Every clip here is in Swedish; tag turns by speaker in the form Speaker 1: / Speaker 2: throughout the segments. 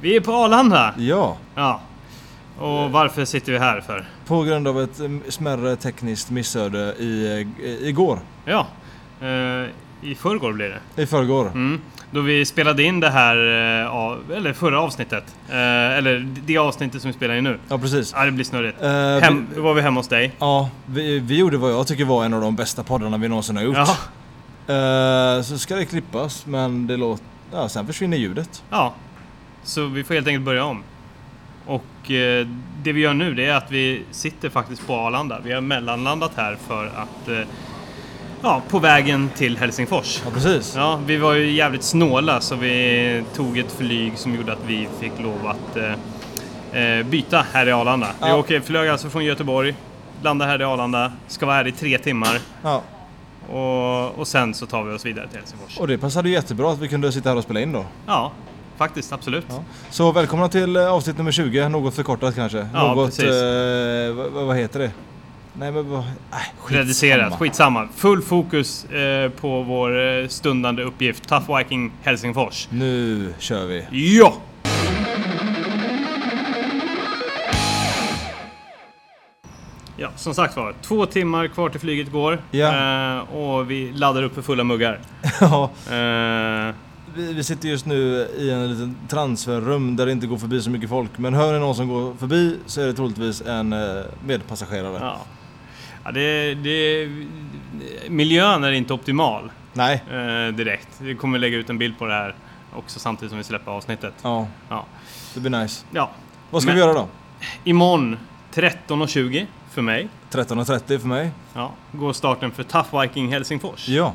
Speaker 1: Vi är på Arlanda!
Speaker 2: Ja,
Speaker 1: Ja. Och varför sitter vi här för?
Speaker 2: på grund av ett eh, smärre tekniskt missöde i, eh, igår.
Speaker 1: Ja. Eh, I förrgår blir det.
Speaker 2: I förrgår.
Speaker 1: Mm. Då vi spelade in det här, eh, av- eller förra avsnittet. Eh, eller det avsnittet som vi spelar in nu.
Speaker 2: Ja, precis.
Speaker 1: Ja, det blir snurrigt.
Speaker 2: Eh,
Speaker 1: Hem,
Speaker 2: vi,
Speaker 1: då var vi hemma hos dig.
Speaker 2: ja, vi, vi gjorde vad jag tycker var en av de bästa poddarna vi någonsin har gjort.
Speaker 1: Ja.
Speaker 2: Eh, så ska det klippas, men det låter... Ja, sen försvinner ljudet.
Speaker 1: ja. Så vi får helt enkelt börja om. Och eh, det vi gör nu det är att vi sitter faktiskt på Arlanda. Vi har mellanlandat här för att... Eh, ja, på vägen till Helsingfors.
Speaker 2: Ja, precis.
Speaker 1: Ja, vi var ju jävligt snåla så vi tog ett flyg som gjorde att vi fick lov att eh, eh, byta här i Arlanda. Vi
Speaker 2: Ja.
Speaker 1: åker, flög alltså från Göteborg, landade här i Arlanda, ska vara här i tre timmar
Speaker 2: Ja,
Speaker 1: och, och sen så tar vi oss vidare till Helsingfors.
Speaker 2: och det passade ju jättebra att vi kunde sitta här och spela in då.
Speaker 1: Ja, faktiskt, absolut.
Speaker 2: Ja. Så välkomna till eh, avsnitt nummer 20, något förkortat kanske.
Speaker 1: Ja,
Speaker 2: något,
Speaker 1: precis.
Speaker 2: eh, vad, vad heter det? Nej men vad... Äh, skitsamma.
Speaker 1: Reducerat, skitsamma. Full fokus eh, på vår eh, stundande uppgift, Tough Viking Helsingfors.
Speaker 2: Nu kör vi.
Speaker 1: Ja! Ja, som sagt var. Två timmar kvar till flyget går.
Speaker 2: Ja.
Speaker 1: Eh, och vi laddar upp för fulla muggar.
Speaker 2: Ja,
Speaker 1: Eh,
Speaker 2: vi, vi sitter just nu i en liten transferrum där det inte går förbi så mycket folk. Men hör ni någon som går förbi så är det troligtvis en eh, medpassagerare.
Speaker 1: ja. Ja, det, det, miljön är inte optimal
Speaker 2: Nej.
Speaker 1: eh, direkt. Vi kommer lägga ut en bild på det här också samtidigt som vi släpper avsnittet.
Speaker 2: Ja,
Speaker 1: Ja.
Speaker 2: det blir nice.
Speaker 1: ja.
Speaker 2: Vad ska
Speaker 1: Men-
Speaker 2: vi göra då?
Speaker 1: Imorgon 13.20 för mig.
Speaker 2: 13.30 för mig.
Speaker 1: Ja, går starten för Tough Viking Helsingfors.
Speaker 2: Ja.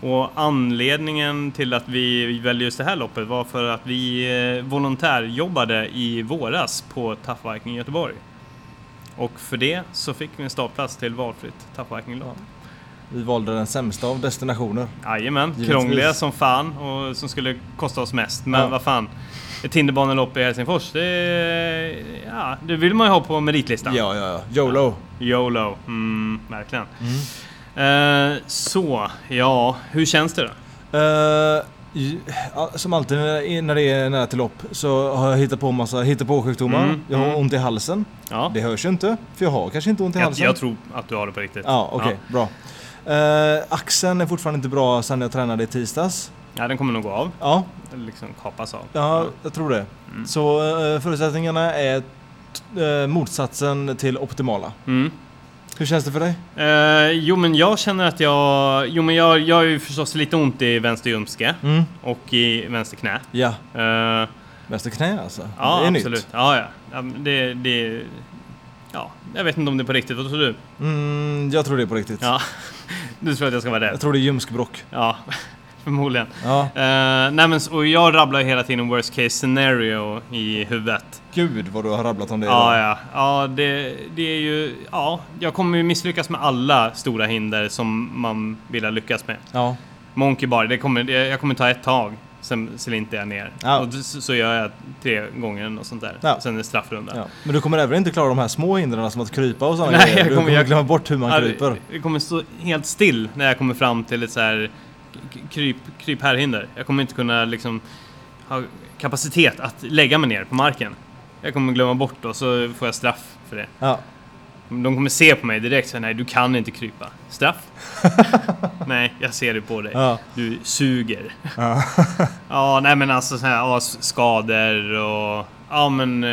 Speaker 1: Och anledningen till att vi väljer just det här loppet var för att vi eh, volontärjobbade i våras på Tough Viking Göteborg. Och för det så fick vi en startplats till valfritt Tough Viking-lopp.
Speaker 2: Vi valde den sämsta av destinationer.
Speaker 1: Jajamän,
Speaker 2: Givetvis.
Speaker 1: krångliga som fan och som skulle kosta oss mest. Men
Speaker 2: Ja.
Speaker 1: vad fan, ett hinderbanelopp i Helsingfors, det, ja, det vill man ju ha på meritlistan.
Speaker 2: Ja, ja, ja. YOLO.
Speaker 1: YOLO, mm, verkligen.
Speaker 2: Mm.
Speaker 1: Eh, så, ja, hur känns det då?
Speaker 2: Eh, ju- ja, som alltid när när det är nära till lopp så har jag hittat på massa hittepåsjukdomar.
Speaker 1: Mm,
Speaker 2: jag har
Speaker 1: mm.
Speaker 2: ont i halsen.
Speaker 1: Ja.
Speaker 2: Det hörs ju inte, för jag har kanske inte ont i
Speaker 1: Jag,
Speaker 2: halsen.
Speaker 1: jag tror att du har det på riktigt.
Speaker 2: Alltså? Ja, okej, bra. Eh, axeln är fortfarande inte bra sen jag tränade i tisdags.
Speaker 1: Ja. Ja, den kommer nog gå av.
Speaker 2: Ja,
Speaker 1: Eller liksom kapas av.
Speaker 2: ja jag tror det.
Speaker 1: Mm.
Speaker 2: Så eh, förutsättningarna är t- eh, motsatsen till optimala.
Speaker 1: Mm.
Speaker 2: Hur känns det för dig?
Speaker 1: Eh, jo, men jag känner att jag... Jo, men jag, jag har ju förstås lite ont i vänster ljumske
Speaker 2: Mm.
Speaker 1: och i vänster knä.
Speaker 2: Ja,
Speaker 1: Eh, ja,
Speaker 2: vänster knä alltså. det är
Speaker 1: absolut.
Speaker 2: nytt.
Speaker 1: Ja, ja. ja men det, det... Ja, jag vet inte om det är på riktigt. Vad tror du?
Speaker 2: Mm, jag tror det är på riktigt.
Speaker 1: Ja. Du tror att jag ska vara
Speaker 2: Jag
Speaker 1: rädd?
Speaker 2: tror det är ljumskbråck.
Speaker 1: Ja, förmodligen.
Speaker 2: Ja.
Speaker 1: Uh, nej, men, så- och jag rabblar ju hela tiden worst case scenario i huvudet.
Speaker 2: Gud vad du har rabblat om det
Speaker 1: Ja,
Speaker 2: idag.
Speaker 1: ja. ja det, det är ju... Ja, jag kommer ju misslyckas med alla stora hinder som man vill ha lyckas med.
Speaker 2: ja.
Speaker 1: Monkey bar, det kommer, det, jag kommer ta ett tag. Sen slintar jag ner.
Speaker 2: Ja.
Speaker 1: Och så, så gör jag tre gånger eller något sånt där.
Speaker 2: Ja.
Speaker 1: Sen är det straffrunda.
Speaker 2: Ja. Men du kommer även inte klara de här små hindren som att krypa och sådana
Speaker 1: Nej,
Speaker 2: grejer.
Speaker 1: jag
Speaker 2: Du
Speaker 1: kommer-
Speaker 2: kommer
Speaker 1: jag-
Speaker 2: glömma bort hur man
Speaker 1: Ja,
Speaker 2: kryper.
Speaker 1: Alltså, det- Det kommer stå helt still när jag kommer fram till ett så här k- kryp, kryp här-hinder. Jag kommer inte kunna liksom ha kapacitet att lägga mig ner på marken. Jag kommer glömma bort och så får jag straff för det.
Speaker 2: Ja.
Speaker 1: De kommer se på mig direkt så här, nej du kan inte krypa. Straff? nej, jag ser det på dig.
Speaker 2: Ja.
Speaker 1: Du suger.
Speaker 2: Ja.
Speaker 1: Ja, nej men alltså så här, ja, s- skador och... Ja men...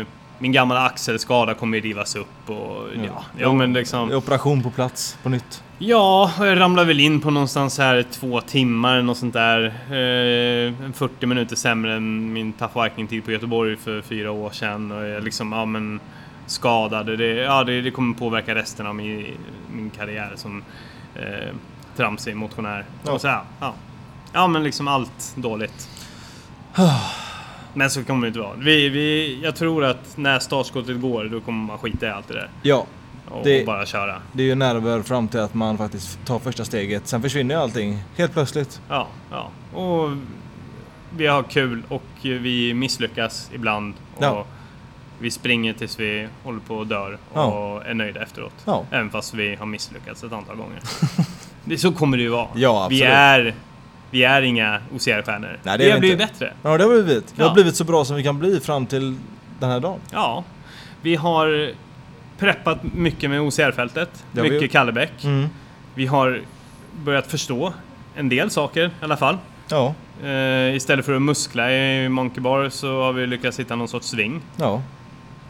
Speaker 1: Eh, min gamla axelskada kommer ju rivas upp och... Ja, ja, men
Speaker 2: Det
Speaker 1: liksom...
Speaker 2: är Operation på plats på nytt.
Speaker 1: Ja, och jag ramlade väl in på någonstans här två timmar eller något sånt där. Eh, 40 minuter sämre än min Tough Viking-tid på Göteborg för fyra år sedan. Och jag liksom, ja men skadade. Det, ja, det, det kommer påverka resten av min, min karriär som eh, tramsig motionär.
Speaker 2: Ja.
Speaker 1: Och så, ja, ja. ja, men liksom allt dåligt. Men så kommer det inte vara. Vi, vi, jag tror att när startskottet går, då kommer man skita i allt det där.
Speaker 2: Ja,
Speaker 1: Och
Speaker 2: Det-
Speaker 1: bara köra.
Speaker 2: Det är ju nerver fram till att man faktiskt tar första steget. Sen försvinner ju allting helt plötsligt.
Speaker 1: Ja, ja. Och vi har kul och vi misslyckas ibland. Och
Speaker 2: Ja.
Speaker 1: Vi springer tills vi håller på och dör och
Speaker 2: Ja.
Speaker 1: är nöjda efteråt.
Speaker 2: Ja.
Speaker 1: Även fast vi har misslyckats ett antal gånger. det, så kommer det ju vara.
Speaker 2: Ja,
Speaker 1: vi
Speaker 2: absolut.
Speaker 1: är vi är inga OCR-stjärnor.
Speaker 2: Nej, det är
Speaker 1: vi
Speaker 2: vi
Speaker 1: har blivit
Speaker 2: inte.
Speaker 1: bättre.
Speaker 2: Ja, det har vi blivit. Vi
Speaker 1: Ja.
Speaker 2: har blivit så bra som vi kan bli fram till den här dagen.
Speaker 1: Ja, vi har preppat mycket med OCR-fältet.
Speaker 2: Det har vi
Speaker 1: Mycket
Speaker 2: gjort.
Speaker 1: Kallebäck.
Speaker 2: Mm.
Speaker 1: Vi har börjat förstå en del saker i alla fall.
Speaker 2: Ja,
Speaker 1: Eh, istället för att muskla i Monkey Bar så har vi lyckats hitta någon sorts sving.
Speaker 2: ja,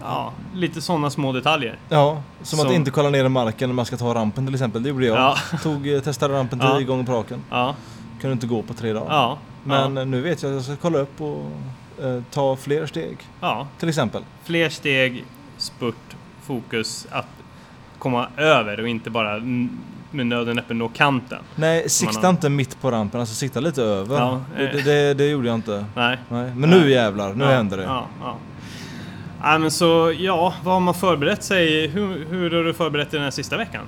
Speaker 1: Ja, lite sådana små detaljer.
Speaker 2: ja. Som
Speaker 1: Så-
Speaker 2: att inte kolla ner i marken när man ska ta rampen till exempel. Det gjorde jag.
Speaker 1: Ja.
Speaker 2: Tog, eh, testade rampen
Speaker 1: Ja.
Speaker 2: tio gånger på raken.
Speaker 1: Ja,
Speaker 2: Kunde inte gå på tre dagar.
Speaker 1: ja,
Speaker 2: Men
Speaker 1: ja,
Speaker 2: eh, nu vet jag att jag ska kolla upp och eh, ta fler steg.
Speaker 1: ja.
Speaker 2: Till exempel.
Speaker 1: Fler steg, spurt, fokus, att komma över och inte bara n- med nöden och näppen nå kanten.
Speaker 2: Nej, sikta
Speaker 1: har-
Speaker 2: inte mitt på rampen. Alltså sikta lite över.
Speaker 1: Ja,
Speaker 2: det,
Speaker 1: eh.
Speaker 2: det, det, det gjorde jag inte.
Speaker 1: Nej.
Speaker 2: Nej. Men
Speaker 1: Nej.
Speaker 2: nu jävlar, nu
Speaker 1: ja,
Speaker 2: händer det.
Speaker 1: Ja, ja. Ja, men så, ja, vad har man förberett sig? Hur, hur har du förberett dig den här sista veckan?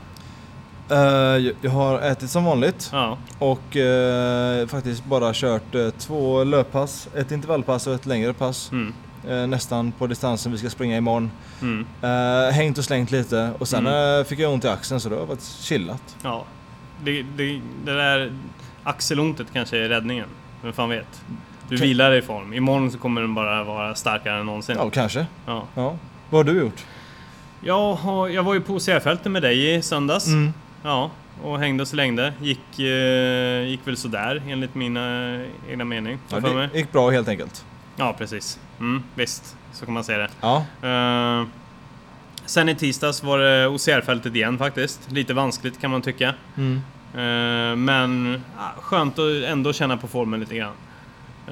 Speaker 2: Eh, jag- jag har ätit som vanligt
Speaker 1: Ja,
Speaker 2: och eh, faktiskt bara kört eh, två löppass, ett intervallpass och ett längre pass.
Speaker 1: mm,
Speaker 2: Eh, nästan på distansen vi ska springa imorgon.
Speaker 1: mm,
Speaker 2: Uh, hängt och slängt lite och sen
Speaker 1: Mm.
Speaker 2: eh, fick jag ont i axeln så det har varit chillat.
Speaker 1: ja. Det, det, det där axelontet kanske är räddningen. Vem fan vet? Du
Speaker 2: Okej.
Speaker 1: vilar dig i form. Imorgon så kommer den bara vara starkare än någonsin.
Speaker 2: Ja, kanske.
Speaker 1: Ja.
Speaker 2: Ja. Vad har du gjort?
Speaker 1: Jag, har, jag var ju på OCR-fältet med dig i söndags.
Speaker 2: Mm.
Speaker 1: Ja, och hängde och slängde. Gick, eh, gick väl sådär enligt mina egna mening.
Speaker 2: Ja,
Speaker 1: för mig.
Speaker 2: det gick bra helt enkelt.
Speaker 1: ja precis. Mm, visst, så kan man säga det.
Speaker 2: Ja,
Speaker 1: Eh, sen i tisdags var det OCR-fältet igen faktiskt. Lite vanskligt kan man tycka.
Speaker 2: mm.
Speaker 1: Eh, men ah, skönt att ändå känna på formen lite grann.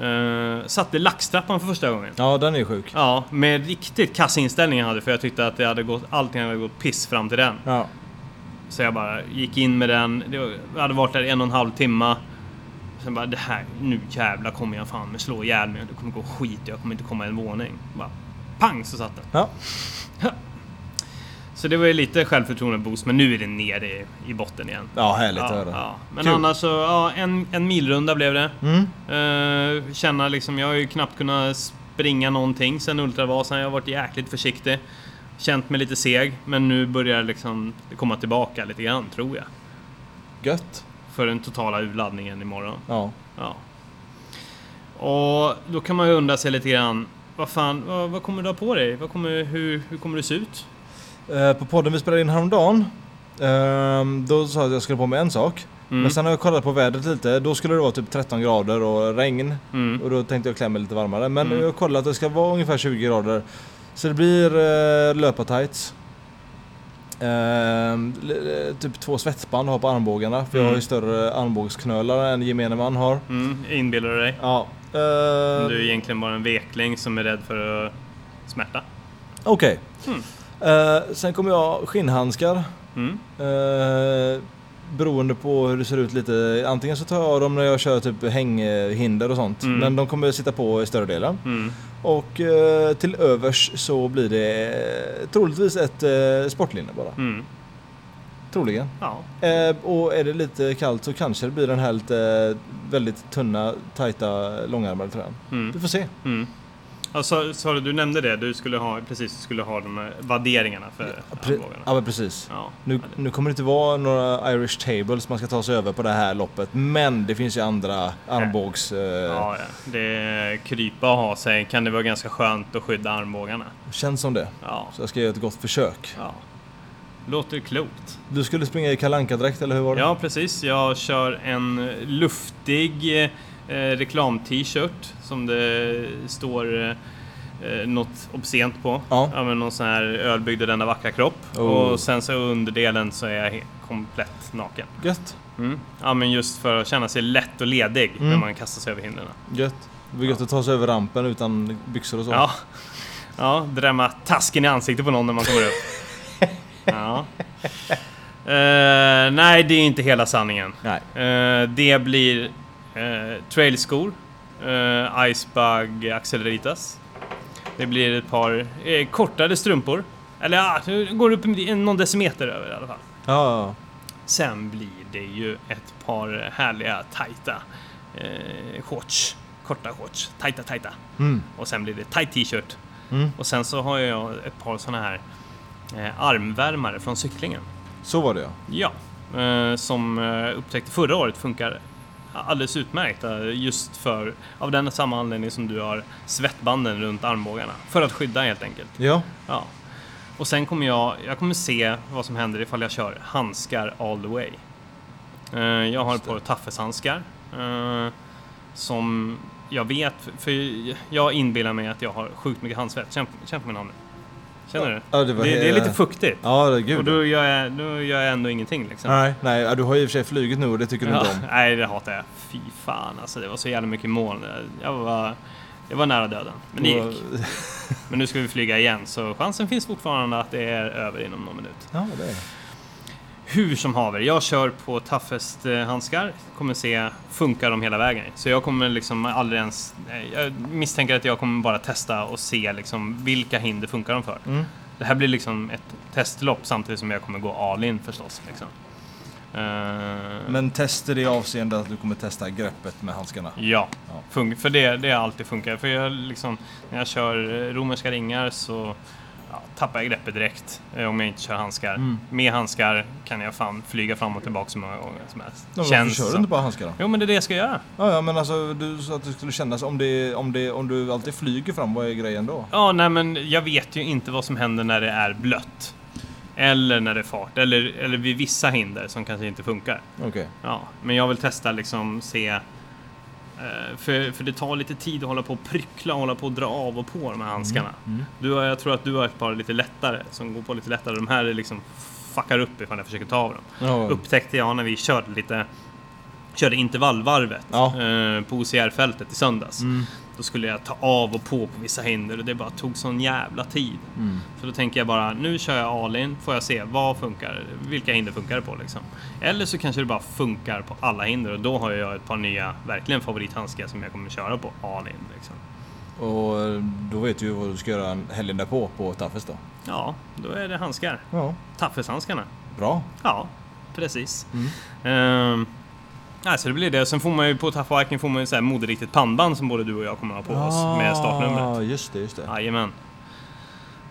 Speaker 1: Eh, satte laxtrappan för första gången.
Speaker 2: ja den är sjuk.
Speaker 1: Ja, med riktigt kass inställning jag hade för jag tyckte att det hade gått, allting hade gått piss fram till den.
Speaker 2: Ja.
Speaker 1: Så jag bara gick in med den. Det var- Jag hade varit där i en och en halv timma. Sen bara det här, nu jävlar kommer jag fan med slå ihjäl mig. Det kommer gå skit, jag kommer inte komma en våning. Bara, pang så satt den.
Speaker 2: Ja.
Speaker 1: Så det var ju lite självförtroende-boost, men nu är det nere i, i botten igen.
Speaker 2: ja, härligt att
Speaker 1: Ja,
Speaker 2: höra.
Speaker 1: ja. Men
Speaker 2: Kul.
Speaker 1: annars så, ja, en, en milrunda blev det.
Speaker 2: Mm.
Speaker 1: Eh, känna liksom, jag har ju knappt kunnat springa någonting sen ultravasan. Jag har varit jäkligt försiktig. Känt mig lite seg, men nu börjar jag liksom komma tillbaka lite grann tror jag.
Speaker 2: Gött.
Speaker 1: För den totala urladdningen imorgon.
Speaker 2: Ja.
Speaker 1: Ja. Och då kan man ju undra sig lite grann. Vad fan, vad, vad kommer du ha på dig? Vad kommer, hur, hur kommer du se ut?
Speaker 2: Eh, på podden vi spelade in häromdagen, ehm, då sa jag att jag skulle på mig en sak.
Speaker 1: Mm.
Speaker 2: Men sen har jag kollat på vädret lite, då skulle det vara typ 13 grader och regn.
Speaker 1: Mm.
Speaker 2: Och då tänkte jag klä mig lite varmare. Men
Speaker 1: Mm.
Speaker 2: jag har kollat att det ska vara ungefär 20 grader. Så det blir eh, löpartights. Ehm, l- l- typ två svetsband har på armbågarna. För jag har ju
Speaker 1: Mm.
Speaker 2: större armbågsknölar än gemene man har.
Speaker 1: Mm, inbillar du dig?
Speaker 2: Ja. eh,
Speaker 1: Du är egentligen bara en vekling som är rädd för eh, smärta.
Speaker 2: Okej.
Speaker 1: Mm.
Speaker 2: Eh, sen kommer jag ha skinnhandskar.
Speaker 1: Mm.
Speaker 2: Eh, beroende på hur det ser ut lite. Antingen så tar jag av dem när jag kör typ hänghinder och sånt.
Speaker 1: Mm.
Speaker 2: Men de kommer sitta på i större delen.
Speaker 1: Mm.
Speaker 2: Och eh, till övers så blir det eh, troligtvis ett eh, sportlinne bara.
Speaker 1: Mm.
Speaker 2: Troligen.
Speaker 1: Ja.
Speaker 2: Eh, och är det lite kallt så kanske det blir den här lite, eh, väldigt tunna, tajta, långärmade tröjan. Vi
Speaker 1: Mm.
Speaker 2: får se.
Speaker 1: Mm. Alltså, sa du, du nämnde det, du skulle ha, precis, du skulle ha de här värderingarna för
Speaker 2: Pre-
Speaker 1: armbågarna.
Speaker 2: ja men precis.
Speaker 1: Ja.
Speaker 2: Nu, nu kommer det inte vara några Irish tables man ska ta sig över på det här loppet. Men det finns ju andra armbågs... Eh,
Speaker 1: Ja, ja. Det krypa och ha sig kan det vara ganska skönt att skydda armbågarna.
Speaker 2: Känns som det.
Speaker 1: Ja.
Speaker 2: Så jag ska göra ett gott försök.
Speaker 1: ja. Låter klokt.
Speaker 2: Du skulle springa i kalanka direkt eller hur var det?
Speaker 1: Ja, precis. Jag kör en luftig eh, reklam-t-shirt som det står eh, eh, något obscent på.
Speaker 2: Ja.
Speaker 1: ja men någon sån här ölbyggd i denna vackra kropp.
Speaker 2: Oh.
Speaker 1: Och sen så underdelen så är jag he- komplett naken.
Speaker 2: Gött.
Speaker 1: Mm. Ja men just för att känna sig lätt och ledig
Speaker 2: Mm.
Speaker 1: när man kastar sig över hindren.
Speaker 2: Gött. Det var gött att ta sig över rampen utan byxor och så.
Speaker 1: Ja. ja, drämma tasken i ansiktet på någon när man kommer upp. ja. Eh, nej, det är inte hela sanningen.
Speaker 2: Nej.
Speaker 1: Eh, det blir eh, trailskor, uh, Icebug Acceleritas. Det blir ett par eh, kortare strumpor. Eller ja, det går upp en- någon decimeter över i alla fall.
Speaker 2: Ja, ja.
Speaker 1: Sen blir det ju ett par härliga tajta eh, shorts. Korta shorts. Tajta, tajta.
Speaker 2: Mm.
Speaker 1: Och sen blir det tight t-shirt.
Speaker 2: Mm.
Speaker 1: Och sen så har jag ett par såna här eh, armvärmare från cyklingen.
Speaker 2: Så var det ja.
Speaker 1: Ja, eh, som eh, upptäckte förra året funkar alldeles utmärkta just för, av den samma anledning som du har svettbanden runt armbågarna. För att skydda helt enkelt.
Speaker 2: Ja,
Speaker 1: Ja. Och sen kommer jag, jag kommer se vad som händer ifall jag kör handskar all the way. Eh, jag har
Speaker 2: Just
Speaker 1: ett par taffeshandskar. eh, som jag vet, för jag inbillar mig att jag har sjukt mycket handsvett. Känn, känn på min hand nu. Känner du?
Speaker 2: Ja, det var
Speaker 1: Det,
Speaker 2: he-
Speaker 1: det är lite fuktigt.
Speaker 2: Ja, det- gud.
Speaker 1: Och då gör, jag, då gör jag ändå ingenting liksom.
Speaker 2: Nej, nej, ja, du har ju i och för sig flugit nu och det tycker du
Speaker 1: Ja,
Speaker 2: inte om.
Speaker 1: nej, det hatar jag. Fy fan alltså, det var så jävla mycket moln. Jag var, jag var nära döden. Men det gick.
Speaker 2: Och-
Speaker 1: Men nu ska vi flyga igen, så chansen finns fortfarande att det är över inom någon minut.
Speaker 2: Ja, det är det.
Speaker 1: Hur som haver, jag kör på toughest eh, handskar. Kommer se, funkar de hela vägen? Så jag kommer liksom aldrig ens... eh, Jag misstänker att jag kommer bara testa och se liksom vilka hinder funkar de för.
Speaker 2: Mm.
Speaker 1: Det här blir liksom ett testlopp samtidigt som jag kommer gå all in förstås. Liksom. Eh,
Speaker 2: Men tester i avseende att du kommer testa greppet med handskarna.
Speaker 1: Ja,
Speaker 2: Ja.
Speaker 1: fun- för det, det har alltid funkat. För jag liksom, när jag kör eh, romerska ringar så ja, tappar jag greppet direkt eh, om jag inte kör handskar.
Speaker 2: Mm.
Speaker 1: Med handskar kan jag fan flyga fram och tillbaka så många gånger som helst.
Speaker 2: Ja, men varför kör du
Speaker 1: som.
Speaker 2: inte bara handskar då?
Speaker 1: Jo men det är det jag ska göra.
Speaker 2: Ja, ja men alltså du sa att det skulle kännas om, det, om, det, om du alltid flyger fram, vad är grejen då?
Speaker 1: Ja, nej men jag vet ju inte vad som händer när det är blött. Eller när det är fart, eller, eller vid vissa hinder som kanske inte funkar.
Speaker 2: Okej.
Speaker 1: Ja, men jag vill testa liksom se... eh, För, för det tar lite tid att hålla på och pryckla och hålla på och dra av och på de här handskarna. Du har, jag tror att du har ett par lite lättare som går på lite lättare. De här är liksom fuckar upp ifall jag försöker ta av dem.
Speaker 2: Ja.
Speaker 1: Upptäckte jag när vi körde lite körde intervallvarvet
Speaker 2: Ja.
Speaker 1: eh, på OCR-fältet i söndags.
Speaker 2: Mm.
Speaker 1: Då skulle jag ta av och på på vissa hinder och det bara tog sån jävla tid.
Speaker 2: Mm.
Speaker 1: Så då tänker jag bara, nu kör jag all in, får jag se vad funkar, vilka hinder funkar det på liksom. Eller så kanske det bara funkar på alla hinder och då har jag ett par nya, verkligen favorithandskar som jag kommer köra på all in. Liksom.
Speaker 2: Och eh, då vet du ju vad du ska göra helgen därpå på Taffes då.
Speaker 1: Ja, då är det handskar.
Speaker 2: Ja.
Speaker 1: Taffeshandskarna.
Speaker 2: Bra.
Speaker 1: Ja, precis.
Speaker 2: Mm.
Speaker 1: Ehm, nej, så det blir det. Sen får man ju på Taffearken får man ju så här moderiktigt pannband som både du och jag kommer ha på
Speaker 2: Ah.
Speaker 1: oss med startnumret.
Speaker 2: Ja, just det, just det.
Speaker 1: Jajamän.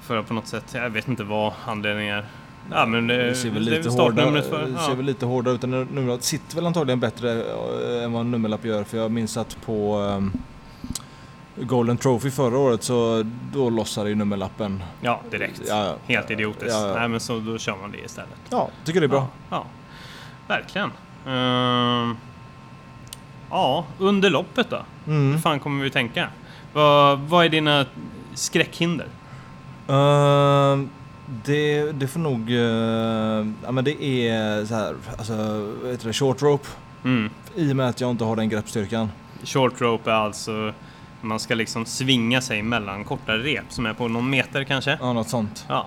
Speaker 1: För att på något sätt, jag vet inte vad anledningen är. Ja, men det,
Speaker 2: Det ser väl
Speaker 1: eh, det är
Speaker 2: lite
Speaker 1: startnumret
Speaker 2: hårdare,
Speaker 1: för.
Speaker 2: det
Speaker 1: Ja.
Speaker 2: ser väl lite hårdare ut än numret. Sitter väl antagligen bättre eh, än vad en nummerlapp gör för jag minns att på ehm, Golden Trophy förra året så då lossade ju nummerlappen.
Speaker 1: ja, direkt.
Speaker 2: Ja, ja.
Speaker 1: Helt idiotiskt.
Speaker 2: Ja, ja.
Speaker 1: Nej, men så då kör man det istället.
Speaker 2: Ja, tycker det är bra.
Speaker 1: Ja, ja. verkligen. Ehm, ja, under loppet då?
Speaker 2: Mm.
Speaker 1: Hur fan kommer vi tänka? Vad, vad är dina skräckhinder?
Speaker 2: Ehm, det, det får nog... eh, ja, men det är så här, alltså, vad heter det, short rope.
Speaker 1: Mm.
Speaker 2: I och med att jag inte har den greppstyrkan.
Speaker 1: Short rope är alltså man ska liksom svinga sig mellan korta rep som är på någon meter kanske.
Speaker 2: Ja, något sånt.
Speaker 1: Ja,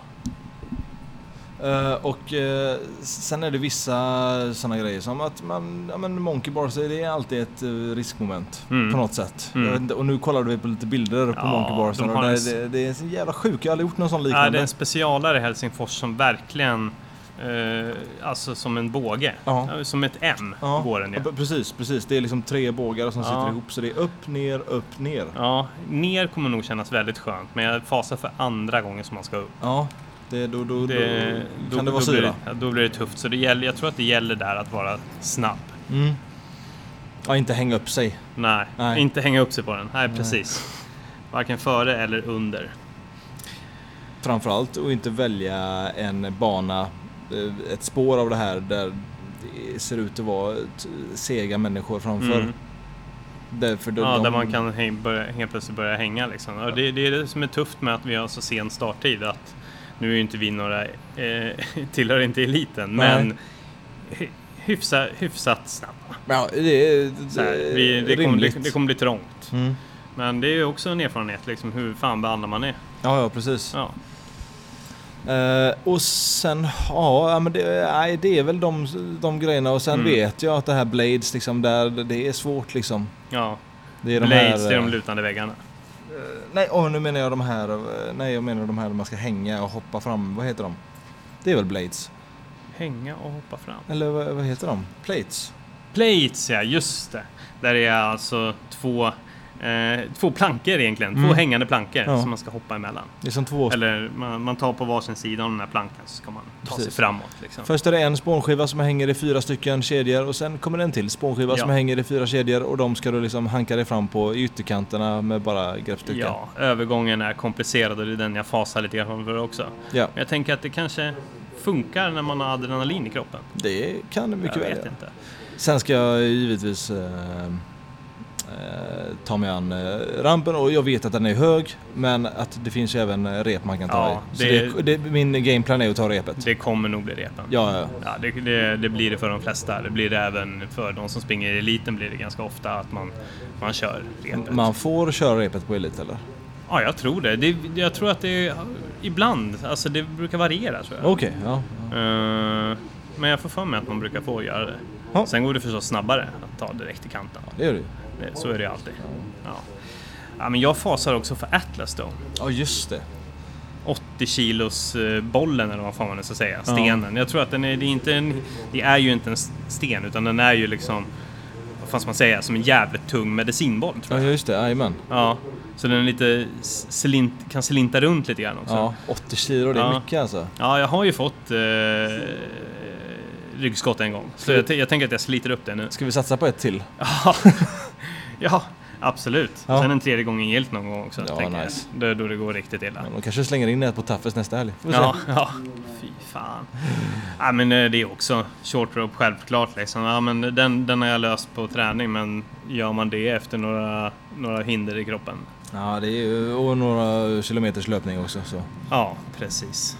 Speaker 2: Eh, och eh, sen är det vissa sådana grejer som att man, ja men monkey bars, det är alltid ett eh, riskmoment
Speaker 1: Mm.
Speaker 2: på något sätt.
Speaker 1: Mm.
Speaker 2: Jag vet inte, och nu kollade vi på lite bilder på
Speaker 1: Ja,
Speaker 2: monkey bars.
Speaker 1: de
Speaker 2: och
Speaker 1: har
Speaker 2: det,
Speaker 1: en-
Speaker 2: det, det är så jävla sjukt, jag har aldrig gjort någon sån
Speaker 1: ja det
Speaker 2: liknande.
Speaker 1: är en specialare i Helsingfors som verkligen eh, alltså som en båge.
Speaker 2: Ja.
Speaker 1: Ja, Som ett M
Speaker 2: Ja,
Speaker 1: går den ju.
Speaker 2: ja, p- precis, precis. Det är liksom tre bågar som
Speaker 1: Ja.
Speaker 2: sitter ihop så det är upp, ner, upp, ner.
Speaker 1: Ja, ner kommer nog kännas väldigt skönt, men jag fasar för andra gången som man ska upp.
Speaker 2: Ja, det, då, då,
Speaker 1: Det,
Speaker 2: då kan det vara
Speaker 1: då blir
Speaker 2: syra.
Speaker 1: ja, Då blir det tufft, så det gäller, jag tror att det gäller där att vara snabb.
Speaker 2: Mm. Ja, inte hänga upp sig.
Speaker 1: Nej,
Speaker 2: Nej.
Speaker 1: inte hänga upp sig på den. Nej, precis. Varken före eller under.
Speaker 2: Framförallt och inte välja en bana, eh, ett spår av det här där det ser ut att vara ett- sega människor framför.
Speaker 1: Mm.
Speaker 2: Därför de,
Speaker 1: Ja,
Speaker 2: de,
Speaker 1: där man kan hä- börja, helt plötsligt börja hänga liksom. Och det, det är det som är tufft med att vi har så sen starttid. Att nu är ju inte vi några, eh, tillhör inte eliten,
Speaker 2: Nej.
Speaker 1: men hy- hyfsa, hyfsat snabba.
Speaker 2: Ja, det är
Speaker 1: Så här, vi, det, kommer,
Speaker 2: rimligt.
Speaker 1: det, det kommer bli trångt.
Speaker 2: Mm.
Speaker 1: Men det är ju också en erfarenhet, liksom, hur fan behandlar man det?
Speaker 2: Ja, ja precis.
Speaker 1: Ja.
Speaker 2: Eh, och sen, ja, ja, men det, nej, det är väl de, de grejerna. Och sen
Speaker 1: Mm.
Speaker 2: vet jag att det här Blades, liksom, där, det är svårt liksom.
Speaker 1: ja.
Speaker 2: Det är de
Speaker 1: Blades,
Speaker 2: här,
Speaker 1: det är
Speaker 2: eh,
Speaker 1: de lutande väggarna.
Speaker 2: Nej, åh, nu menar jag de här. eh, Nej, jag menar de här där man ska hänga och hoppa fram. Vad heter de? Det är väl blades?
Speaker 1: Hänga och hoppa fram.
Speaker 2: Eller vad, vad heter de? Plates?
Speaker 1: Plates ja, just det. Där är alltså två Eh, två plankor egentligen, två
Speaker 2: Mm.
Speaker 1: hängande plankor
Speaker 2: Ja.
Speaker 1: som man ska hoppa emellan.
Speaker 2: Det är som två
Speaker 1: Eller man, man tar på varsin sida av den här plankan så ska man ta sig
Speaker 2: Precis.
Speaker 1: framåt. Liksom.
Speaker 2: Först är det en spånskiva som hänger i fyra stycken kedjor och sen kommer det en till spånskiva
Speaker 1: Ja.
Speaker 2: som hänger i fyra kedjor och de ska du liksom hanka dig fram på i ytterkanterna med bara greppstycken.
Speaker 1: Ja, övergången är komplicerad och det är den jag fasar lite grann för också.
Speaker 2: Ja,
Speaker 1: Men jag tänker att det kanske funkar när man har adrenalin i kroppen.
Speaker 2: det kan du mycket
Speaker 1: jag
Speaker 2: väl
Speaker 1: vet
Speaker 2: göra.
Speaker 1: inte.
Speaker 2: Sen ska jag givetvis eh, eh, ta mig an eh, rampen och jag vet att den är hög men att det finns ju även eh, rep man kan ta
Speaker 1: Ja,
Speaker 2: i. Så
Speaker 1: det-
Speaker 2: det... Det, min gameplan är att ta repet.
Speaker 1: Det kommer nog bli repen.
Speaker 2: Ja, ja.
Speaker 1: Ja, det, det, det blir det för de flesta. Det blir det även för de som springer i eliten blir det ganska ofta att man, man kör repet.
Speaker 2: Man får köra repet på elit eller?
Speaker 1: Ja, jag tror det. det. Jag tror att det ibland, alltså det brukar variera tror jag.
Speaker 2: Okej, ja.
Speaker 1: Eh, men jag får för mig att man brukar få göra det.
Speaker 2: Ja.
Speaker 1: Sen går det förstås snabbare att ta direkt i kanten.
Speaker 2: Det gör du ju.
Speaker 1: Det- Så är det ju alltid. Ja. Ja, men jag fasar också för Atlas då.
Speaker 2: Ja, just det.
Speaker 1: 80 kilos eh, bollen eller vad fan man ska säga, stenen. Jag tror att den är, det är inte en, det är ju inte en sten utan den är ju liksom, vad fan ska man säga, som en jävligt tung medicinboll tror
Speaker 2: Ja,
Speaker 1: jag.
Speaker 2: just det. Jajamän.
Speaker 1: Ja, så den är lite, s- slint, kan slinta runt lite grann också.
Speaker 2: Ja, 80 kilo, det är
Speaker 1: Ja.
Speaker 2: mycket alltså.
Speaker 1: Ja, jag har ju fått eh, ryggskott en gång. Så jag, t- jag tänker att jag sliter upp det nu.
Speaker 2: Ska vi satsa på ett till?
Speaker 1: Ja, ja absolut.
Speaker 2: Ja.
Speaker 1: Sen en tredje gången gillt någon gång också.
Speaker 2: Ja,
Speaker 1: tänker
Speaker 2: nice.
Speaker 1: jag. Då, då det går riktigt illa.
Speaker 2: De kanske slänger in ett på Taffes nästa helg. Får vi se.
Speaker 1: Ja, ja. Fy fan. Ja, men eh, det är också short rope självklart. Liksom. Ja, men den, den har jag löst på träning, men gör man det efter några, några hinder i kroppen?
Speaker 2: ja, det är ju och några kilometers löpning också. Så.
Speaker 1: Ja, precis.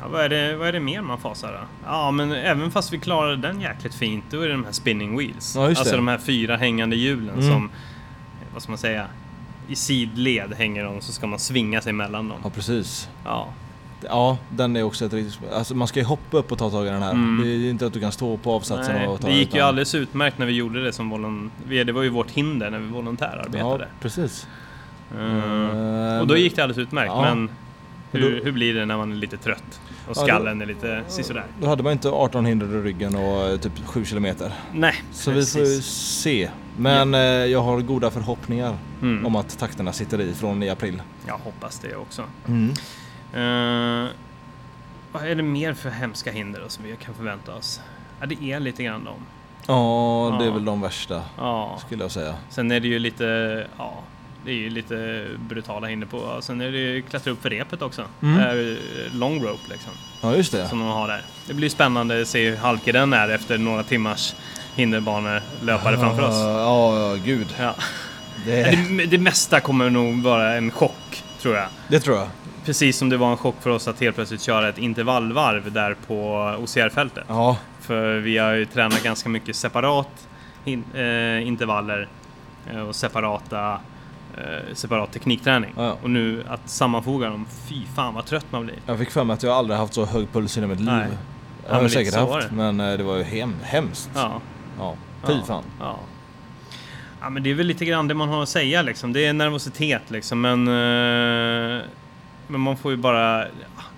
Speaker 1: Ja, vad, är det, vad är det mer man fasar då? Ja, men även fast vi klarade den jäkligt fint, då är det de här spinning wheels.
Speaker 2: Ja, just
Speaker 1: alltså
Speaker 2: det.
Speaker 1: de här fyra hängande hjulen
Speaker 2: Mm.
Speaker 1: som, eh, vad ska man säga, i sidled hänger de så ska man svinga sig mellan dem.
Speaker 2: Ja, precis.
Speaker 1: Ja,
Speaker 2: Ja, den är också ett riktigt... Alltså man ska ju hoppa upp och ta tag i den här.
Speaker 1: Mm.
Speaker 2: Det är ju inte att du kan stå på avsatsen
Speaker 1: Nej,
Speaker 2: och ta
Speaker 1: det gick
Speaker 2: utan-
Speaker 1: ju alldeles utmärkt när vi gjorde det som volon... vi- Det var ju vårt hinder när vi
Speaker 2: Ja,
Speaker 1: volontärarbetade.
Speaker 2: precis.
Speaker 1: Mm.
Speaker 2: Ehm,
Speaker 1: Och då gick det alldeles utmärkt,
Speaker 2: Ja.
Speaker 1: men hur,
Speaker 2: Då-
Speaker 1: hur blir det när man är lite trött? Och
Speaker 2: Ja, då-
Speaker 1: skallen är lite sisådär.
Speaker 2: Då hade man inte 18 hinder i ryggen och eh, typ 7 kilometer.
Speaker 1: Nej,
Speaker 2: Så
Speaker 1: precis.
Speaker 2: vi får ju se. Men eh, jag har goda förhoppningar
Speaker 1: Mm.
Speaker 2: om att takterna sitter i från i april.
Speaker 1: Jag hoppas det också.
Speaker 2: Mm.
Speaker 1: Eh, vad är det mer för hemska hinder då som vi kan förvänta oss? Ja, det är lite grann dem.
Speaker 2: Ja, det är
Speaker 1: Ja.
Speaker 2: väl de värsta
Speaker 1: Ja.
Speaker 2: skulle jag säga.
Speaker 1: Sen är det ju lite, ja, det är ju lite brutala hinder på. Ja, Sen är det ju klättra upp för repet också.
Speaker 2: Mm.
Speaker 1: Eh, long rope liksom.
Speaker 2: Ja, just det.
Speaker 1: som de har där. Det blir spännande att se hur halkig den är efter några timmars hinderbanelöpare framför oss.
Speaker 2: Ja, ja, gud.
Speaker 1: Ja.
Speaker 2: Det,
Speaker 1: Det, det mesta kommer nog vara en chock, tror jag.
Speaker 2: det tror jag.
Speaker 1: Precis som det var en chock för oss att helt plötsligt köra ett intervallvarv där på OCR-fältet.
Speaker 2: Ja,
Speaker 1: För vi har ju tränat ganska mycket separat hin- eh, intervaller eh, och separata, eh, separat teknikträning.
Speaker 2: Ja, ja.
Speaker 1: Och nu att sammanfoga dem, fy fan vad trött man blir.
Speaker 2: jag fick för mig att jag aldrig haft så hög puls i hela mitt liv.
Speaker 1: Nej. men
Speaker 2: Jag har jag
Speaker 1: lite
Speaker 2: säkert
Speaker 1: så var
Speaker 2: haft,
Speaker 1: det.
Speaker 2: men eh, det var ju hem, hemskt.
Speaker 1: Ja.
Speaker 2: Ja, fy
Speaker 1: Ja,
Speaker 2: fan.
Speaker 1: Ja. ja, men det är väl lite grann det man har att säga liksom. Det är nervositet liksom, men... eh, men man får ju bara... ja,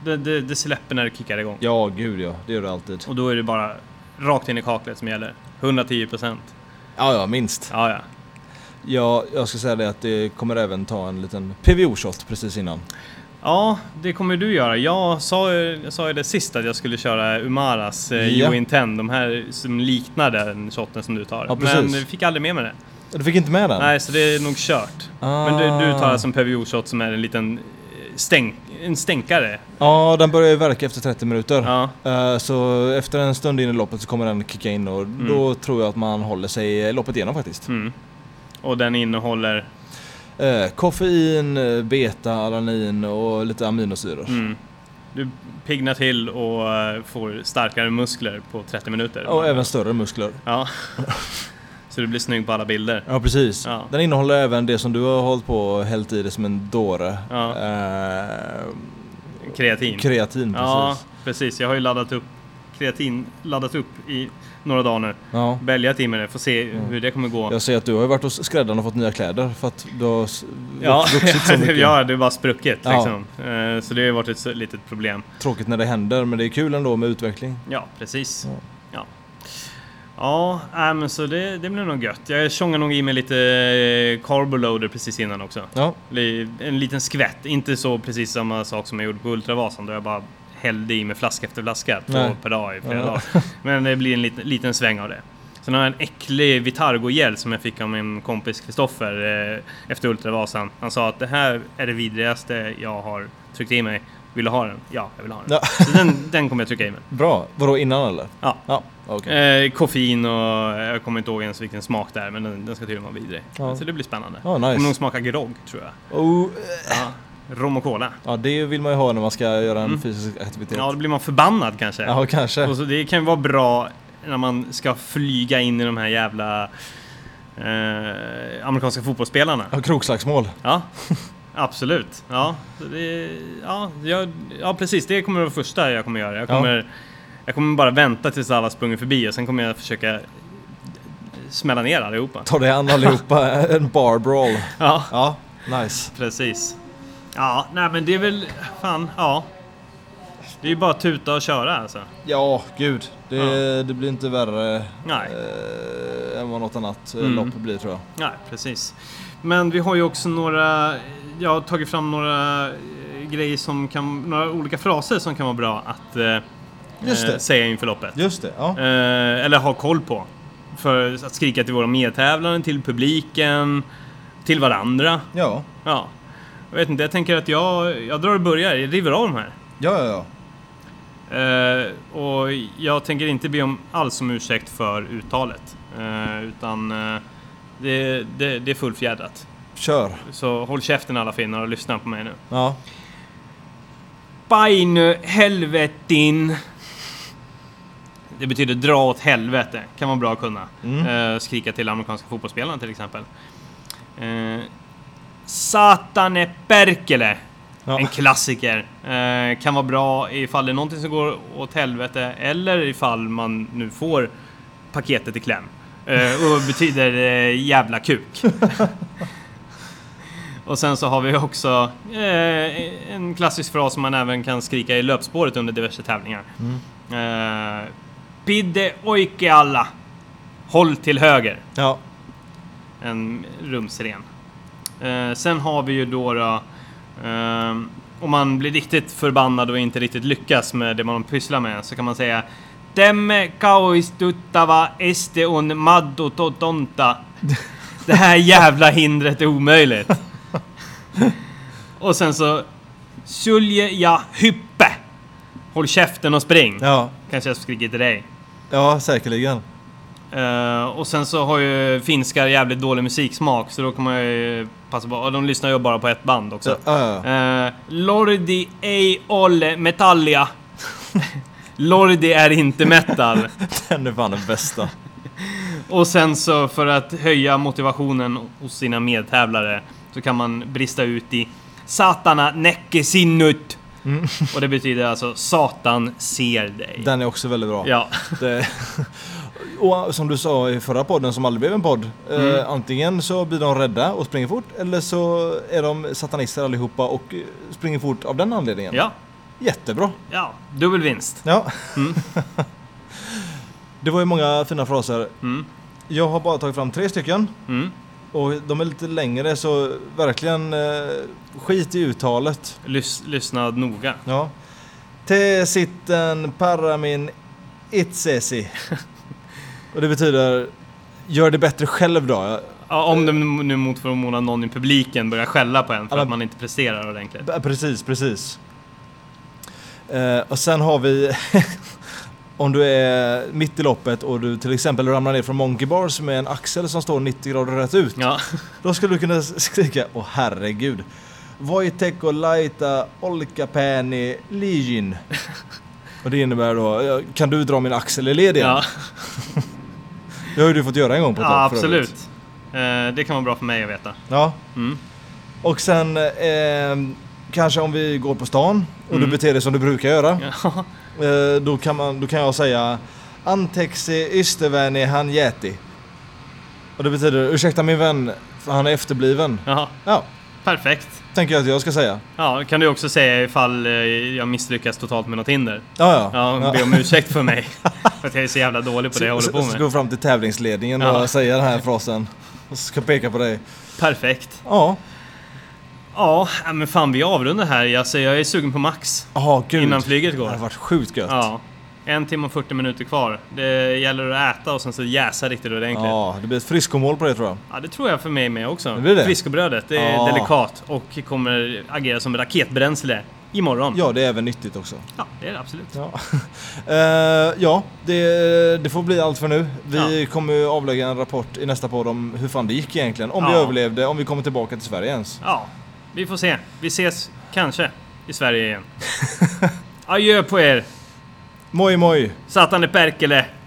Speaker 1: Det, det, det släpper när det kickar igång.
Speaker 2: Ja, gud ja. Det gör det alltid.
Speaker 1: Och då är det bara rakt in i kaklet som gäller. 110 procent.
Speaker 2: Ja, ja, minst.
Speaker 1: Ja, ja.
Speaker 2: Ja, jag ska säga det att det kommer även ta en liten PVO-shot precis innan.
Speaker 1: Ja, det kommer du göra. Jag sa, ju- jag sa ju det sist att jag skulle köra Umaras eh,
Speaker 2: Ja.
Speaker 1: Yo Inten, de här som liknar den shotten som du tar.
Speaker 2: Ja,
Speaker 1: men
Speaker 2: precis.
Speaker 1: jag fick aldrig med mig det.
Speaker 2: Du fick inte med den? Ah.
Speaker 1: Nej, så det är nog kört. Men du, du tar alltså en PVO-shot som är en liten eh, stänk, en stänkare.
Speaker 2: Ja, den börjar ju verka efter 30 minuter.
Speaker 1: Ja.
Speaker 2: Eh, Så efter en stund in i loppet så kommer den kicka in och då tror jag att man håller sig loppet igenom faktiskt.
Speaker 1: Mm. Och den innehåller...
Speaker 2: Eh, Koffein, eh, beta, alanin och lite aminosyror.
Speaker 1: Mm, du piggnar till och eh, får starkare muskler på 30 minuter.
Speaker 2: Och även större muskler.
Speaker 1: Ja. Så du blir snygg på alla bilder.
Speaker 2: Ja precis.
Speaker 1: Ja.
Speaker 2: Den innehåller även det som du har hållit på och hällt i det som en dåre.
Speaker 1: Ja.
Speaker 2: Eh,
Speaker 1: Kreatin.
Speaker 2: kreatin
Speaker 1: ja,
Speaker 2: Mm, precis.
Speaker 1: precis. Jag har ju laddat upp kreatin laddat upp i några dagar nu.
Speaker 2: Ja.
Speaker 1: Bälgat i med det, får se
Speaker 2: Mm.
Speaker 1: hur det kommer gå.
Speaker 2: Jag ser att du har ju varit hos skräddaren och fått nya kläder för att du har s-
Speaker 1: Ja,
Speaker 2: vuxit så mycket.
Speaker 1: ja, det är bara sprucket
Speaker 2: Ja.
Speaker 1: liksom. Eh, Så det har ju varit ett så- litet problem.
Speaker 2: Tråkigt när det händer men det är kul ändå med utveckling.
Speaker 1: Ja, precis. Ja.
Speaker 2: Ja.
Speaker 1: Ja, äh, men så det, det blir nog gött. Jag tjongar nog i mig lite eh, carboloader precis innan också.
Speaker 2: Ja,
Speaker 1: Li- En liten skvätt, inte så precis samma sak som jag gjorde på Ultravasan då jag bara hällde i mig flaska efter flaska två
Speaker 2: Nej.
Speaker 1: per dag i flera
Speaker 2: Ja.
Speaker 1: dagar. Men det blir en liten, liten sväng av det. Sen har jag en äcklig Vitargo-gel som jag fick av min kompis Kristoffer eh, efter Ultravasan. Han sa att det här är det vidrigaste jag har tryckt i mig. Vill du ha den? Ja, jag vill ha den. Så den, den kommer jag trycka i mig.
Speaker 2: bra. Vadå innan eller?
Speaker 1: Ja.
Speaker 2: Ja, okej.
Speaker 1: Eh, koffein och eh, jag kommer inte ihåg ens vilken smak det är men den, den ska tydligen vara vidrig.
Speaker 2: Ja.
Speaker 1: Så det blir spännande.
Speaker 2: Ja,
Speaker 1: Kommer nog
Speaker 2: nice.
Speaker 1: smaka grogg tror jag.
Speaker 2: Oh,
Speaker 1: Ja. Rom och cola.
Speaker 2: ja, det vill man ju ha när man ska göra en
Speaker 1: Mm.
Speaker 2: fysisk aktivitet.
Speaker 1: Ja, då blir man förbannad kanske.
Speaker 2: Ja, kanske.
Speaker 1: Och så det kan ju vara bra när man ska flyga in i de här jävla eh, amerikanska fotbollsspelarna.
Speaker 2: Ja, krokslagsmål.
Speaker 1: Ja, absolut. Ja, så det, ja, jag, ja, precis. Det kommer vara det första jag kommer göra. Jag
Speaker 2: Ja.
Speaker 1: kommer, jag kommer bara vänta tills alla sprungit förbi och sen kommer jag försöka smälla ner allihopa.
Speaker 2: Ta dig an allihopa, en bar brawl.
Speaker 1: Ja,
Speaker 2: Ja, nice.
Speaker 1: precis. Ja, nej men det är väl... Fan, ja. Det är ju bara att tuta och köra alltså.
Speaker 2: Ja, gud. Det,
Speaker 1: Ja.
Speaker 2: det blir inte värre
Speaker 1: Nej.
Speaker 2: eh, än vad något annat eh,
Speaker 1: Mm.
Speaker 2: lopp blir tror jag.
Speaker 1: Nej, precis. Men vi har ju också några, jag har tagit fram några eh, grejer som kan, några olika fraser som kan vara bra att eh,
Speaker 2: Just
Speaker 1: eh,
Speaker 2: det.
Speaker 1: säga inför loppet.
Speaker 2: Just det, ja.
Speaker 1: Eh, eller ha koll på. För att skrika till våra medtävlande, till publiken, till varandra.
Speaker 2: Ja,
Speaker 1: Ja. Jag vet inte, jag tänker att jag, jag drar och börjar, jag river av de här.
Speaker 2: ja, ja. ja.
Speaker 1: Eh, och jag tänker inte be om alls om ursäkt för uttalet. Eh, utan eh, det, det, det är fullfjädrat.
Speaker 2: Kör.
Speaker 1: Så håll käften alla finnar och lyssna på mig nu.
Speaker 2: Ja.
Speaker 1: Baj nu helvetin. Det betyder dra åt helvete. Kan vara bra att kunna.
Speaker 2: Mm.
Speaker 1: Eh, skrika till amerikanska fotbollsspelarna till exempel. Eh, Satane perkele.
Speaker 2: Ja.
Speaker 1: En klassiker. Eh, kan vara bra ifall det är någonting som går åt helvete eller ifall man nu får paketet i kläm. Eh, och betyder eh, jävla kuk. och sen så har vi också eh, en klassisk fras som man även kan skrika i löpspåret under diverse tävlingar. Eh, Pidde oike alla. Håll till höger.
Speaker 2: ja.
Speaker 1: En rumsren. Eh, sen har vi ju då, då ehm, om man blir riktigt förbannad och inte riktigt lyckas med det man pysslar med så kan man säga Demme kauistuttava este on maddo totonta. Det här jävla hindret är omöjligt. och sen så Sulje ja hyppe. Håll käften och spring.
Speaker 2: Ja.
Speaker 1: Kanske jag skriker till dig.
Speaker 2: Ja, säkerligen.
Speaker 1: Eh, och sen så har ju finskar jävligt dålig musiksmak så då kommer jag ju passa på. och De lyssnar ju bara på ett band också.
Speaker 2: Ja, ja, ja.
Speaker 1: Eh, Lordi ei ole metallia. Lordi är inte metal.
Speaker 2: Den är fan den bästa.
Speaker 1: Och sen så för att höja motivationen hos sina medtävlare så kan man brista ut i Satana näcke sinnut.
Speaker 2: Mm.
Speaker 1: Och det betyder alltså Satan ser dig.
Speaker 2: Den är också väldigt bra.
Speaker 1: Ja,
Speaker 2: Det, eh, och som du sa i förra podden som aldrig blev en podd.
Speaker 1: Mm.
Speaker 2: Eh, antingen så blir de rädda och springer fort eller så är de satanister allihopa och eh, springer fort av den anledningen.
Speaker 1: ja,
Speaker 2: Jättebra.
Speaker 1: ja. Dubbel vinst.
Speaker 2: Ja.
Speaker 1: Mm.
Speaker 2: det var ju många fina fraser.
Speaker 1: Mm.
Speaker 2: Jag har bara tagit fram tre stycken
Speaker 1: Mm.
Speaker 2: och de är lite längre så verkligen eh, skit i uttalet.
Speaker 1: Lys- lyssna noga.
Speaker 2: Ja. Te sitten paramin itsesi. Och det betyder gör det bättre själv då.
Speaker 1: Ja, om det nu mot förmodan någon i publiken börjar skälla på en för
Speaker 2: Ja,
Speaker 1: att
Speaker 2: men-
Speaker 1: man inte presterar ordentligt.
Speaker 2: Ja, Precis, precis. Eh, och sen har vi om du är mitt i loppet och du till exempel ramlar ner från Monkey Bars med en axel som står 90 grader rätt ut.
Speaker 1: Ja,
Speaker 2: Då skulle du kunna skrika åh herregud. Voiteko laita olkapäni lijin. Och det innebär då, "Ja, kan du dra min axel i led igen?
Speaker 1: ja,
Speaker 2: Det har ju du fått göra en gång på ett
Speaker 1: ja
Speaker 2: tag, för övrigt.
Speaker 1: absolut. Eh, det kan vara bra för mig att veta.
Speaker 2: Ja.
Speaker 1: Mm.
Speaker 2: Och sen eh, kanske om vi går på stan och
Speaker 1: Mm.
Speaker 2: du beter dig som du brukar göra.
Speaker 1: Ja,
Speaker 2: Eh, då, kan man, då kan jag säga Antexi ystäväni han jäti. Och det betyder ursäkta min vän, för han är efterbliven.
Speaker 1: ja
Speaker 2: Ja,
Speaker 1: perfekt.
Speaker 2: tänker jag att jag ska säga.
Speaker 1: Ja, det kan du också säga ifall eh, jag misslyckas totalt med något hinder.
Speaker 2: Ja, ja.
Speaker 1: Ja, be om ursäkt för mig. för att jag är så jävla dålig på det jag håller på
Speaker 2: Så
Speaker 1: med.
Speaker 2: ska gå fram till tävlingsledningen
Speaker 1: Ja.
Speaker 2: och säga den här frasen. Och så ska jag peka på dig.
Speaker 1: Perfekt.
Speaker 2: Ja,
Speaker 1: Ja, äh, men fan vi avrundar här. Alltså, jag är sugen på max.
Speaker 2: oh, gud.
Speaker 1: Innan flyget går.
Speaker 2: Det hade varit sjukt gött.
Speaker 1: Ja. En timme och 40 minuter kvar. Det gäller att äta och sen så jäsa riktigt ordentligt. Ja.
Speaker 2: Ja, det blir ett friskomål på det tror jag.
Speaker 1: det tror jag för mig med också.
Speaker 2: Det Ah. blir det.
Speaker 1: Friskobrödet, det är
Speaker 2: Ja.
Speaker 1: delikat och kommer agera som raketbränsle imorgon.
Speaker 2: Ja, det är även nyttigt också.
Speaker 1: ja det är det absolut.
Speaker 2: Ja, Eh, ja det, det får bli allt för nu. Vi kommer ju avlägga en rapport i nästa podd om hur fan det gick egentligen. Om vi
Speaker 1: Ja.
Speaker 2: överlevde, om vi kommer tillbaka till Sverige ens.
Speaker 1: Ja, vi får se. Vi ses kanske i Sverige igen. Adjö på er!
Speaker 2: Moj moj!
Speaker 1: Satan i Perkele!